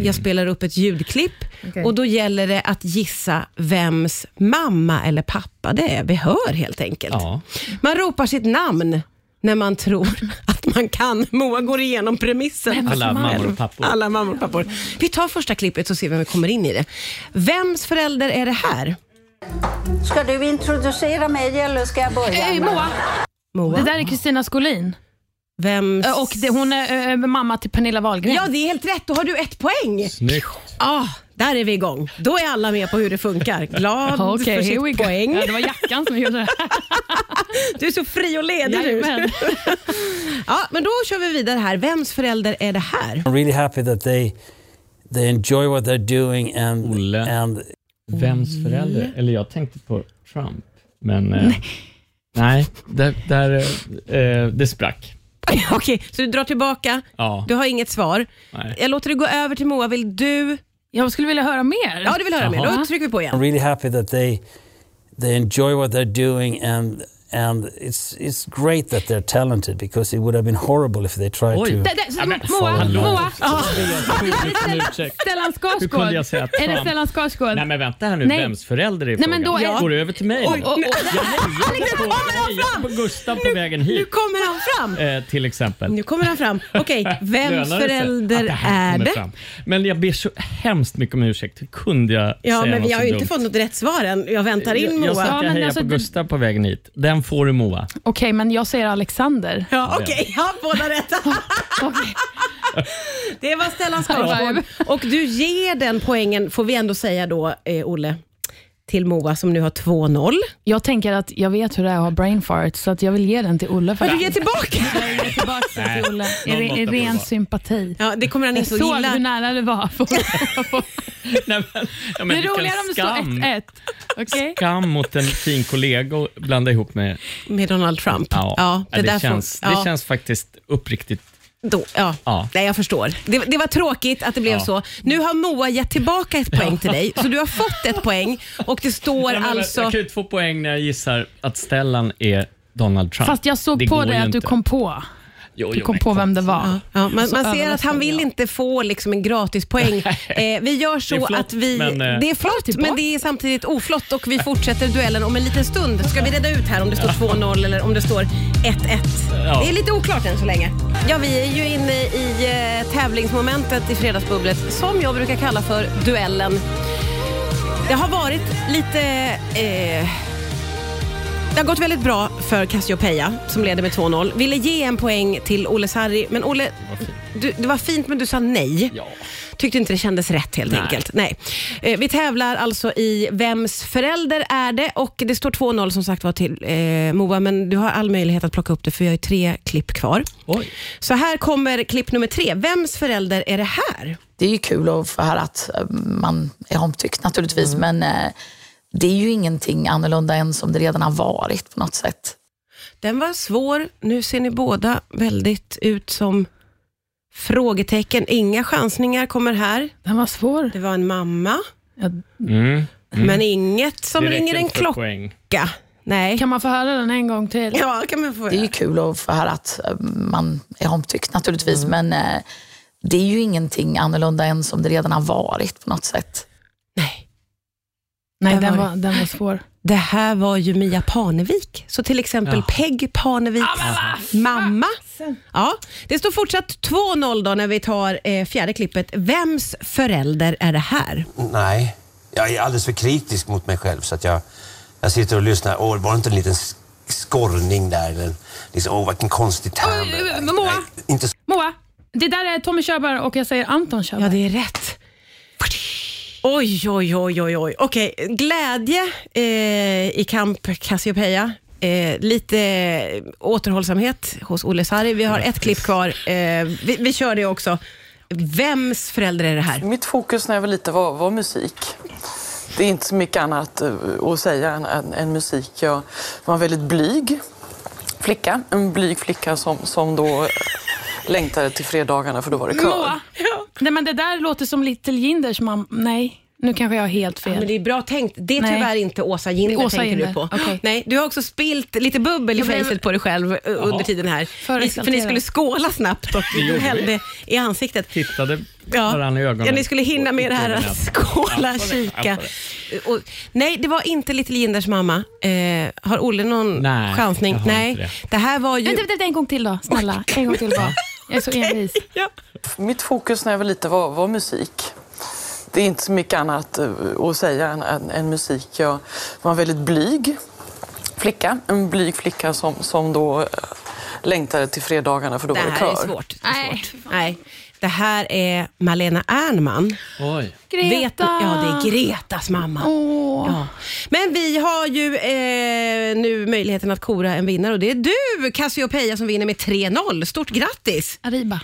[SPEAKER 2] Jag spelar upp ett ljudklipp
[SPEAKER 3] Okej.
[SPEAKER 2] och då gäller det att gissa vems mamma eller pappa det är vi hör helt enkelt.
[SPEAKER 4] Ja.
[SPEAKER 2] Man ropar sitt namn när man tror att man kan. Moa går igenom premissen.
[SPEAKER 4] Alla mammor
[SPEAKER 2] Själv.
[SPEAKER 4] och pappor.
[SPEAKER 2] Alla mammor och pappor. Vi tar första klippet så ser vi om vi kommer in i det. Vems förälder är det här?
[SPEAKER 5] Ska du introducera mig eller ska jag börja?
[SPEAKER 3] Eh, Moa,
[SPEAKER 2] Moa.
[SPEAKER 3] det där är Kristina Skolin.
[SPEAKER 2] Vems...
[SPEAKER 3] Eh, Och det, hon är eh, mamma till Pernilla Wahlgren.
[SPEAKER 2] Ja, det är helt rätt. Då har du ett poäng.
[SPEAKER 4] Snyggt.
[SPEAKER 2] Ah, där är vi igång. Då är alla med på hur det funkar.
[SPEAKER 4] (laughs)
[SPEAKER 2] Glad
[SPEAKER 3] Okej,
[SPEAKER 2] för
[SPEAKER 3] here we
[SPEAKER 2] sitt
[SPEAKER 3] go.
[SPEAKER 2] poäng.
[SPEAKER 3] Ja, det var jackan som gjorde det.
[SPEAKER 2] (laughs) Du är så fri och ledig nu.
[SPEAKER 3] Jajamän.
[SPEAKER 2] Ja, men då kör vi vidare här. Vems förälder är det här? (laughs)
[SPEAKER 6] I'm really happy that they they enjoy what they're doing and
[SPEAKER 4] Olle.
[SPEAKER 6] and
[SPEAKER 4] Vems förälder? Eller jag tänkte på Trump, men... Eh, nej, där, där, eh, det sprack.
[SPEAKER 2] Okej, så du drar tillbaka.
[SPEAKER 4] Ja.
[SPEAKER 2] Du har inget svar.
[SPEAKER 4] Nej.
[SPEAKER 2] Jag låter dig gå över till Moa. Vill du?
[SPEAKER 3] Jag skulle vilja höra mer.
[SPEAKER 2] Ja, du vill höra mer.
[SPEAKER 4] Jaha.
[SPEAKER 2] Då trycker vi på igen.
[SPEAKER 6] I'm really happy that they they enjoy what they're doing and and it's it's great that they're talented because it would have been horrible if they tried
[SPEAKER 4] Oj.
[SPEAKER 6] to.
[SPEAKER 3] Där, där, Moa,
[SPEAKER 6] Fan.
[SPEAKER 3] Moa.
[SPEAKER 2] Ah.
[SPEAKER 4] Ursäkta.
[SPEAKER 3] Stellan
[SPEAKER 4] Hur kunde jag säga
[SPEAKER 3] Skarsgård. Är det
[SPEAKER 4] Trump?
[SPEAKER 3] Stellan Skarsgård?
[SPEAKER 4] Nej, men vänta här nu.
[SPEAKER 3] Nej.
[SPEAKER 4] Vems förälder är
[SPEAKER 3] Nej, men
[SPEAKER 4] frågan?
[SPEAKER 3] då är-
[SPEAKER 4] Går du över till mig?
[SPEAKER 3] Oj, oj, oj.
[SPEAKER 4] Jag hejade på,
[SPEAKER 2] kommer han
[SPEAKER 4] jag hejade på
[SPEAKER 2] fram.
[SPEAKER 4] Gustav på vägen
[SPEAKER 2] Nu
[SPEAKER 4] hit,
[SPEAKER 2] kommer han fram.
[SPEAKER 4] eh, till exempel.
[SPEAKER 2] Nu kommer han fram. Okej,
[SPEAKER 4] (laughs) Lönar det
[SPEAKER 2] vems
[SPEAKER 4] sig
[SPEAKER 2] förälder
[SPEAKER 4] att det här
[SPEAKER 2] är
[SPEAKER 4] kommer
[SPEAKER 2] det?
[SPEAKER 4] fram? Men jag ber så hemskt mycket om ursäkt. Hur kunde jag
[SPEAKER 2] Ja,
[SPEAKER 4] säga
[SPEAKER 2] men
[SPEAKER 4] något
[SPEAKER 2] vi har ju
[SPEAKER 4] så
[SPEAKER 2] inte
[SPEAKER 4] dumt?
[SPEAKER 2] fått något rätt svar än. Jag väntar in
[SPEAKER 4] jag, jag sa
[SPEAKER 2] Moa.
[SPEAKER 4] att
[SPEAKER 3] Ja,
[SPEAKER 4] jag
[SPEAKER 3] men
[SPEAKER 4] hejade
[SPEAKER 3] alltså,
[SPEAKER 4] på
[SPEAKER 3] du-
[SPEAKER 4] Gustav på vägen hit. Den får du Moa.
[SPEAKER 3] Okej, men jag säger Alexander.
[SPEAKER 2] Ja, Okej, ja, båda rätt.
[SPEAKER 3] (laughs) Okej.
[SPEAKER 2] (laughs) Det var Stellan Skarsgård. Och du ger den poängen, får vi ändå säga då, eh, Olle, till Moa som nu har 2-0.
[SPEAKER 3] Jag tänker att jag vet hur det är att ha brain fart, så att jag vill ge den till Olle.
[SPEAKER 2] Men du
[SPEAKER 3] faktiskt.
[SPEAKER 2] ger tillbaka!
[SPEAKER 3] (laughs) Jag ger tillbaka den till Olle. I,
[SPEAKER 4] någon
[SPEAKER 3] re-
[SPEAKER 4] måtta
[SPEAKER 3] i
[SPEAKER 4] får det
[SPEAKER 3] ren
[SPEAKER 4] vara.
[SPEAKER 3] sympati.
[SPEAKER 2] Ja, det kommer han
[SPEAKER 3] Jag
[SPEAKER 2] inte att
[SPEAKER 3] såg hur
[SPEAKER 2] gilla.
[SPEAKER 3] nära det var.
[SPEAKER 4] Nej, men, ja, men
[SPEAKER 3] det
[SPEAKER 4] vilken
[SPEAKER 3] roliga är om det
[SPEAKER 4] skam.
[SPEAKER 3] står 1-1. Okej?
[SPEAKER 4] Skam mot en fin kollega och blanda ihop med...
[SPEAKER 2] Med Donald Trump.
[SPEAKER 4] Ja, det,
[SPEAKER 2] där får-
[SPEAKER 4] känns,
[SPEAKER 2] ja,
[SPEAKER 4] det känns faktiskt uppriktigt.
[SPEAKER 2] Då, ja.
[SPEAKER 4] Ja.
[SPEAKER 2] Nej, jag förstår. Det, det var tråkigt att det blev
[SPEAKER 4] Ja.
[SPEAKER 2] så. Nu har Moa gett tillbaka ett poäng till dig, så du har fått ett poäng och det står
[SPEAKER 4] Jag menar,
[SPEAKER 2] alltså...
[SPEAKER 4] Jag kan ju inte få poäng när jag gissar att Stellan är Donald Trump.
[SPEAKER 3] Fast jag såg på
[SPEAKER 4] går
[SPEAKER 3] dig
[SPEAKER 4] ju
[SPEAKER 3] att du
[SPEAKER 4] inte.
[SPEAKER 3] kom på.
[SPEAKER 4] Jo,
[SPEAKER 3] Du
[SPEAKER 4] jo,
[SPEAKER 3] kom
[SPEAKER 4] men
[SPEAKER 3] på
[SPEAKER 4] kom.
[SPEAKER 3] vem det var.
[SPEAKER 2] Ja, ja, man,
[SPEAKER 3] Så
[SPEAKER 2] man ser att han
[SPEAKER 3] överraskande,
[SPEAKER 2] vill
[SPEAKER 3] ja.
[SPEAKER 2] inte få liksom en gratispoäng.
[SPEAKER 4] (laughs)
[SPEAKER 2] Eh, vi gör så
[SPEAKER 4] Det är flott,
[SPEAKER 2] att vi...
[SPEAKER 4] men, eh,
[SPEAKER 2] det är flott, men det är samtidigt oflott och vi fortsätter duellen om en liten stund. Ska vi reda ut här om det står 2-0 eller om det står 1-1?
[SPEAKER 4] Ja.
[SPEAKER 2] Det är lite oklart än så länge. Ja, vi är ju inne i eh, tävlingsmomentet i Fredagsbubblet som jag brukar kalla för duellen. Det har varit lite... Eh, Det har gått väldigt bra för Cassiopeia som leder med 2-0. Ville ge en poäng till Ole Sarri, men Ole, du, det var fint men du sa nej.
[SPEAKER 4] Ja.
[SPEAKER 2] Tyckte inte det kändes rätt helt
[SPEAKER 4] Nej.
[SPEAKER 2] enkelt. Nej. Eh, Vi tävlar alltså i Vems förälder är det? Och det står 2-0 som sagt var till eh, Moa, men du har all möjlighet att plocka upp det för vi har ju tre klipp kvar.
[SPEAKER 4] Oj.
[SPEAKER 2] Så här kommer klipp nummer tre. Vems förälder är det här?
[SPEAKER 7] Det är ju kul att få höra att eh, man är omtyckt naturligtvis, men eh, det är ju ingenting annorlunda än som det redan har varit på något sätt.
[SPEAKER 2] Den var svår. Nu ser ni båda väldigt ut som frågetecken. Inga chansningar kommer här.
[SPEAKER 3] Den var svår.
[SPEAKER 2] Det var en mamma,
[SPEAKER 4] Mm.
[SPEAKER 2] men inget som
[SPEAKER 4] Det räcker
[SPEAKER 2] ringer en
[SPEAKER 4] inte för
[SPEAKER 2] klocka.
[SPEAKER 4] Poäng.
[SPEAKER 2] Nej.
[SPEAKER 3] Kan man få höra den en gång till?
[SPEAKER 2] Ja, kan man få
[SPEAKER 7] Det är ju kul att få höra att eh, man är omtyckt naturligtvis, men eh, det är ju ingenting annorlunda än som det redan har varit på något sätt.
[SPEAKER 2] Nej.
[SPEAKER 3] Nej,
[SPEAKER 2] Där
[SPEAKER 3] den
[SPEAKER 2] var
[SPEAKER 3] var, den var svår.
[SPEAKER 2] Det här var ju Mia Parneviks. Så till exempel Peg Parneviks (laughs) mamma. Ja, det står fortsatt 2-0 då när vi tar eh, fjärde klippet. Vems förälder är det här?
[SPEAKER 8] Nej, jag är alldeles för kritisk mot mig själv så att jag, jag sitter och lyssnar. Åh, var det inte en liten sk- skorrning där? Eller liksom, åh, vilken konstig term.
[SPEAKER 3] Oj,
[SPEAKER 8] Nej,
[SPEAKER 3] Moa.
[SPEAKER 8] nej, Inte så
[SPEAKER 3] Moa, det där är Tommy Körberg och jag säger Anton Körberg.
[SPEAKER 2] Ja, det är rätt. Oj, oj, oj, oj, oj. Okej, glädje eh, i kamp Cassiopeia. Eh, lite återhållsamhet hos Olle Sarri. Vi har ett klipp kvar. Eh, vi, vi kör det också. Vems förälder är det här?
[SPEAKER 9] Mitt fokus när jag var liten var, var musik. Det är inte så mycket annat eh, att säga än, än, än musik. Jag var en väldigt blyg flicka. En blyg flicka som, som då eh, längtade till fredagarna för då var det kör.
[SPEAKER 3] Moa. Nej, men det där låter som Little Jinders mamma. Nej, nu kanske jag har helt fel.
[SPEAKER 2] Men det är bra tänkt. Det är
[SPEAKER 3] Nej.
[SPEAKER 2] tyvärr inte Åsa Jinder
[SPEAKER 3] Det är Åsa
[SPEAKER 2] tänker du
[SPEAKER 3] Jinder.
[SPEAKER 2] på.
[SPEAKER 3] Okej.
[SPEAKER 2] Nej, du har också spilt lite bubbel i
[SPEAKER 3] Jag blev-
[SPEAKER 2] facet på dig själv eh, under tiden här. Ni, för ni
[SPEAKER 3] exalterad.
[SPEAKER 2] skulle skåla snabbt och du hällde i ansiktet.
[SPEAKER 4] Tittade
[SPEAKER 2] Ja.
[SPEAKER 4] varandra i ögonen.
[SPEAKER 2] Ja, ni skulle hinna med det här
[SPEAKER 4] Och-
[SPEAKER 2] att skåla,
[SPEAKER 4] Ja,
[SPEAKER 2] kika.
[SPEAKER 4] ja,
[SPEAKER 2] Och, nej, det var inte Little Jinders mamma. Eh, har Olle någon
[SPEAKER 4] Nej,
[SPEAKER 2] chansning?
[SPEAKER 4] jag har
[SPEAKER 2] Nej,
[SPEAKER 4] inte
[SPEAKER 2] det.
[SPEAKER 4] det.
[SPEAKER 2] här var ju...
[SPEAKER 3] Vänta, vänta, vänta, en gång till då. Snälla, en gång till bara. Jag är så envis.
[SPEAKER 2] Ja.
[SPEAKER 9] Mitt fokus när jag var liten var, var musik. Det är inte så mycket annat eh, att säga än, än, än musik. Jag var en väldigt blyg flicka. En blyg flicka som, som då eh, längtade till fredagarna för då
[SPEAKER 2] Det
[SPEAKER 9] var det
[SPEAKER 2] här
[SPEAKER 9] kör.
[SPEAKER 2] är svårt. Det är
[SPEAKER 3] Nej,
[SPEAKER 2] svårt. Nej. Det här är Malena Ernman.
[SPEAKER 4] Oj.
[SPEAKER 3] Greta.
[SPEAKER 2] Vet, ja, det är Gretas mamma.
[SPEAKER 3] Åh.
[SPEAKER 2] Ja. Men vi har ju eh, nu möjligheten att kora en vinnare och det är du Cassiopeia som vinner med 3-0. Stort grattis!
[SPEAKER 3] Arriba.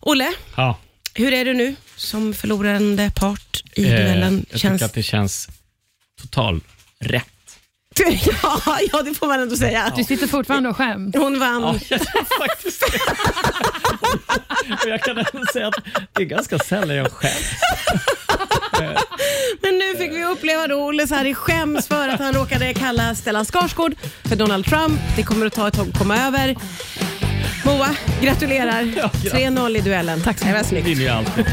[SPEAKER 2] Olle,
[SPEAKER 4] Ja.
[SPEAKER 2] hur är du nu som förlorande part i
[SPEAKER 4] Eh,
[SPEAKER 2] duellen?
[SPEAKER 4] Jag
[SPEAKER 2] Känns-
[SPEAKER 4] tycker att det känns total rätt.
[SPEAKER 2] (laughs) ja, ja, det får man ändå säga.
[SPEAKER 3] Du sitter fortfarande och skäms.
[SPEAKER 2] Hon vann.
[SPEAKER 4] (laughs) Ja, jag tror faktiskt det. Och jag kan även säga att det är ganska sällan jag skäms.
[SPEAKER 2] Men nu fick vi uppleva då Olle Sarri skäms för att han råkade kalla Stellan Skarsgård för Donald Trump. Det kommer att ta ett tag att komma över. Moa, gratulerar. 3-0 i duellen. Tack så mycket.
[SPEAKER 4] Vill ju alltid.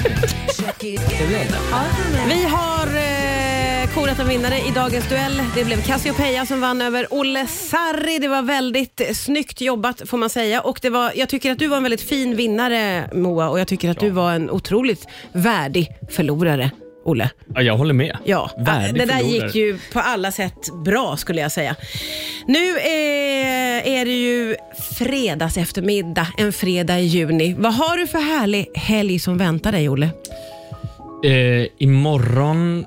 [SPEAKER 2] Vi har eh, korat en vinnare i dagens duell. Det blev Cassiopeia som vann över Olle Sarri. Det var väldigt eh, snyggt jobbat får man säga. Och det var, jag tycker att du var en väldigt fin vinnare Moa och jag tycker att du var en otroligt värdig förlorare. Olle.
[SPEAKER 4] Ja, jag håller med.
[SPEAKER 2] Ja,
[SPEAKER 4] Värdig
[SPEAKER 2] det där
[SPEAKER 4] förlorare.
[SPEAKER 2] gick ju på alla sätt bra skulle jag säga. Nu eh, är det ju fredags eftermiddag, en fredag i juni. Vad har du för härlig helg som väntar dig, Olle?
[SPEAKER 4] Eh, imorgon,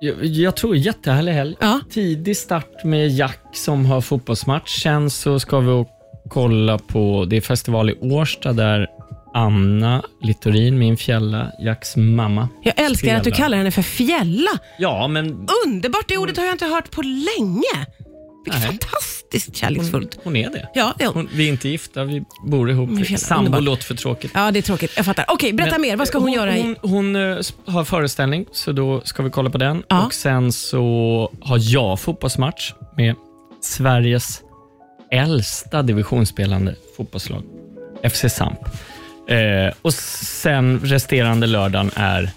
[SPEAKER 4] jag, jag tror jättehärlig helg.
[SPEAKER 2] Ja.
[SPEAKER 4] Tidig start med Jack som har fotbollsmatch. Sen så ska vi och kolla på, det är festival i Årsta där Anna Littorin, min fjälla, Jacks mamma.
[SPEAKER 2] Jag älskar att du
[SPEAKER 4] spelar.
[SPEAKER 2] kallar henne för Fjälla.
[SPEAKER 4] Ja, men
[SPEAKER 2] Underbart, det ordet har jag inte hört på länge. Vilket
[SPEAKER 4] Nej.
[SPEAKER 2] fantastiskt kärleksfullt.
[SPEAKER 4] hon är det.
[SPEAKER 2] Ja, det är hon.
[SPEAKER 4] Hon, vi är inte gifta, vi bor
[SPEAKER 2] Min fjälla,
[SPEAKER 4] ihop. Sambo
[SPEAKER 2] underbart.
[SPEAKER 4] låter för tråkigt.
[SPEAKER 2] Ja, det är tråkigt. Jag fattar. Okej, berätta
[SPEAKER 4] Men,
[SPEAKER 2] mer. Vad ska hon,
[SPEAKER 4] eh,
[SPEAKER 2] göra? I?
[SPEAKER 4] Hon, hon eh, sp- har föreställning, så då ska vi kolla på den.
[SPEAKER 2] Ja.
[SPEAKER 4] Och Sen så har jag fotbollsmatch med Sveriges äldsta divisionsspelande fotbollslag, FC Samp. Eh, och sen resterande lördagen är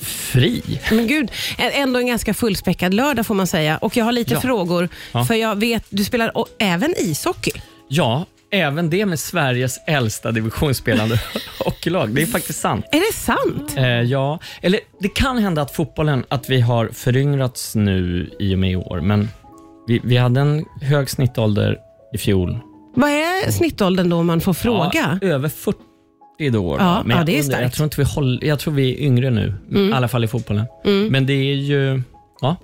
[SPEAKER 4] fri.
[SPEAKER 2] Men gud, ä- ändå en ganska fullspäckad lördag får man säga. Och jag har lite
[SPEAKER 4] Ja.
[SPEAKER 2] frågor,
[SPEAKER 4] Ja.
[SPEAKER 2] för jag vet, du spelar o- även ishockey.
[SPEAKER 4] Ja, även det med Sveriges äldsta divisionsspelande (laughs) hockeylag. Det är faktiskt sant.
[SPEAKER 2] Är det sant?
[SPEAKER 4] Eh, ja, eller det kan hända att fotbollen, att vi har föryngrats nu i och med i år, men Vi, vi hade en hög snittålder i fjol.
[SPEAKER 2] Vad är snittåldern då om man får fråga?
[SPEAKER 4] Ja, över 40 år.
[SPEAKER 2] Ja, ja, det är
[SPEAKER 4] jag, undrar- jag
[SPEAKER 2] starkt. Mm.
[SPEAKER 4] tror inte vi håller, Jag tror vi är yngre nu, i alla fall i fotbollen. Men det är ju... Ja,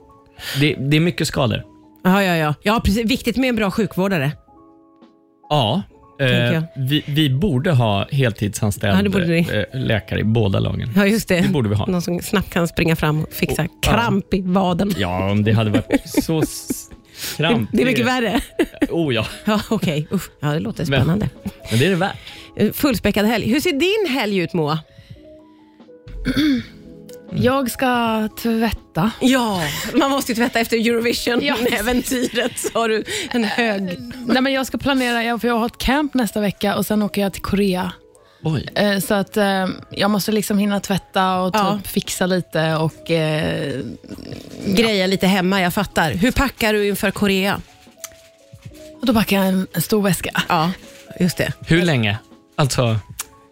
[SPEAKER 4] det, det är mycket skador.
[SPEAKER 2] Ja, ja, ja. ja precis. Viktigt med en bra sjukvårdare.
[SPEAKER 4] Ja.
[SPEAKER 2] Tänker
[SPEAKER 4] Eh,
[SPEAKER 2] jag.
[SPEAKER 4] vi, vi borde ha heltidsanställd
[SPEAKER 2] Ja, det borde ni.
[SPEAKER 4] eh, läkare i båda lagen.
[SPEAKER 2] Ja, just det.
[SPEAKER 4] Det borde vi
[SPEAKER 2] (laughs)
[SPEAKER 4] ha.
[SPEAKER 2] Någon som snabbt kan springa fram och fixa
[SPEAKER 4] ja.
[SPEAKER 2] kramp i vaden.
[SPEAKER 4] Ja, om det hade varit så s- kramp.
[SPEAKER 2] (laughs) Det är mycket värre.
[SPEAKER 4] Oh ja,
[SPEAKER 2] Ja, okej. Usch. Ja, det låter
[SPEAKER 4] Men-
[SPEAKER 2] spännande.
[SPEAKER 4] men det är det värt.
[SPEAKER 2] Eh, Fullspäckad helg. Hur ser din helg ut, Moa?
[SPEAKER 3] Jag ska tvätta.
[SPEAKER 2] Ja, man måste ju tvätta efter (laughs)
[SPEAKER 3] Ja.
[SPEAKER 2] Eurovision-äventyret. Så har du en hög...
[SPEAKER 3] Nej, men jag ska planera, jag- för jag har ett camp nästa vecka och sen åker jag till Korea.
[SPEAKER 4] Oj.
[SPEAKER 3] Eh, Så att eh, jag måste liksom hinna tvätta och
[SPEAKER 2] Ja.
[SPEAKER 3] typ fixa lite. Och, eh,
[SPEAKER 2] Greja lite hemma, jag fattar. Hur packar du inför Korea?
[SPEAKER 3] och då packar jag en, en stor väska.
[SPEAKER 2] Ja, just det.
[SPEAKER 4] Hur länge? Alltså,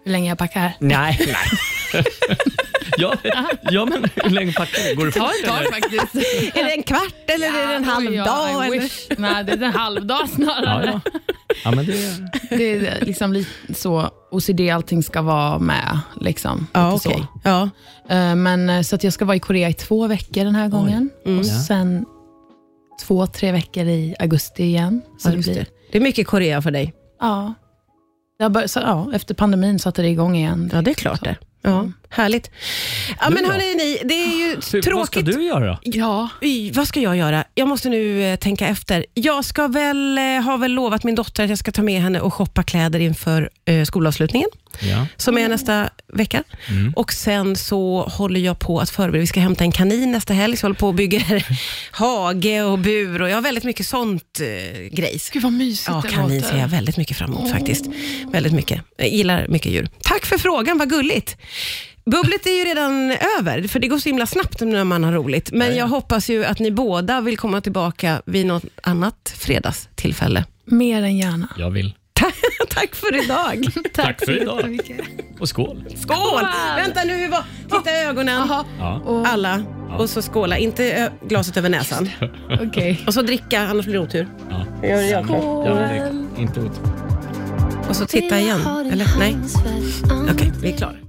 [SPEAKER 3] Hur länge jag packar?
[SPEAKER 4] nej. (laughs) nej. ja, ja, men hur länge packar du? Går det fort? eller?
[SPEAKER 3] (laughs) faktiskt.
[SPEAKER 2] Är det en kvart eller är det en
[SPEAKER 3] Ja,
[SPEAKER 2] halv
[SPEAKER 3] oj, ja,
[SPEAKER 2] dag?
[SPEAKER 3] I
[SPEAKER 2] eller?
[SPEAKER 3] wish. Nej, det är en halv dag
[SPEAKER 4] Ja,
[SPEAKER 3] snarare.
[SPEAKER 4] ja. ja, men det...
[SPEAKER 3] Det är liksom lite så OCD, allting ska vara med. Liksom,
[SPEAKER 2] Ja,
[SPEAKER 3] lite
[SPEAKER 2] okej.
[SPEAKER 3] så.
[SPEAKER 2] Ja.
[SPEAKER 3] Eh, Men, eh, så att jag ska vara i Korea i två veckor den här gången. Och sen två, tre veckor i augusti igen. Så
[SPEAKER 2] Ja,
[SPEAKER 3] det
[SPEAKER 2] just
[SPEAKER 3] blir,
[SPEAKER 2] det. det är mycket Korea för dig.
[SPEAKER 3] Ja. Det har bör- så, ja, efter pandemin satte det igång igen.
[SPEAKER 2] Ja, det är klart det. Mm. Ja, härligt. Ja,
[SPEAKER 4] Du
[SPEAKER 2] men
[SPEAKER 4] då?
[SPEAKER 2] hörni, ni, det är ju
[SPEAKER 4] Hur,
[SPEAKER 2] tråkigt.
[SPEAKER 4] Vad ska du göra då?
[SPEAKER 3] Ja.
[SPEAKER 2] Oj, vad ska jag göra? Jag måste nu eh, tänka efter. Jag ska väl, eh, har väl lovat min dotter att jag ska ta med henne och shoppa kläder inför eh, skolavslutningen,
[SPEAKER 4] Ja.
[SPEAKER 2] som är nästa vecka. Och Sen så håller jag på att förbereda, vi ska hämta en kanin nästa helg, så jag håller på och bygger (laughs) hage och bur och jag har väldigt mycket sånt eh, grejs.
[SPEAKER 3] Gud vad mysigt
[SPEAKER 2] Ja,
[SPEAKER 3] det
[SPEAKER 2] kanin
[SPEAKER 3] låter.
[SPEAKER 2] ser jag väldigt mycket fram emot faktiskt. Väldigt mycket. Jag gillar mycket djur. Tack för frågan, vad gulligt. Bubblet är ju redan över, för det går så himla snabbt när man har roligt. Men jag hoppas ju att ni båda vill komma tillbaka vid något annat fredagstillfälle. (laughs)
[SPEAKER 3] Mer än gärna.
[SPEAKER 4] Jag vill.
[SPEAKER 2] Ta- Tack för idag.
[SPEAKER 4] Tack för idag.
[SPEAKER 3] jättemycket.
[SPEAKER 4] Och skål.
[SPEAKER 2] Skål! Vänta nu, hur var... Titta i ögonen.
[SPEAKER 4] Ja.
[SPEAKER 3] Och-
[SPEAKER 2] Alla. Och så skåla, inte ö- glaset över näsan.
[SPEAKER 3] Okej.
[SPEAKER 2] Och så dricka, annars blir det otur.
[SPEAKER 4] Ja.
[SPEAKER 2] Gör jag.
[SPEAKER 4] Ja, men det- inte otroligt.
[SPEAKER 2] Och så titta igen. Eller nej. Okej, vi är klara.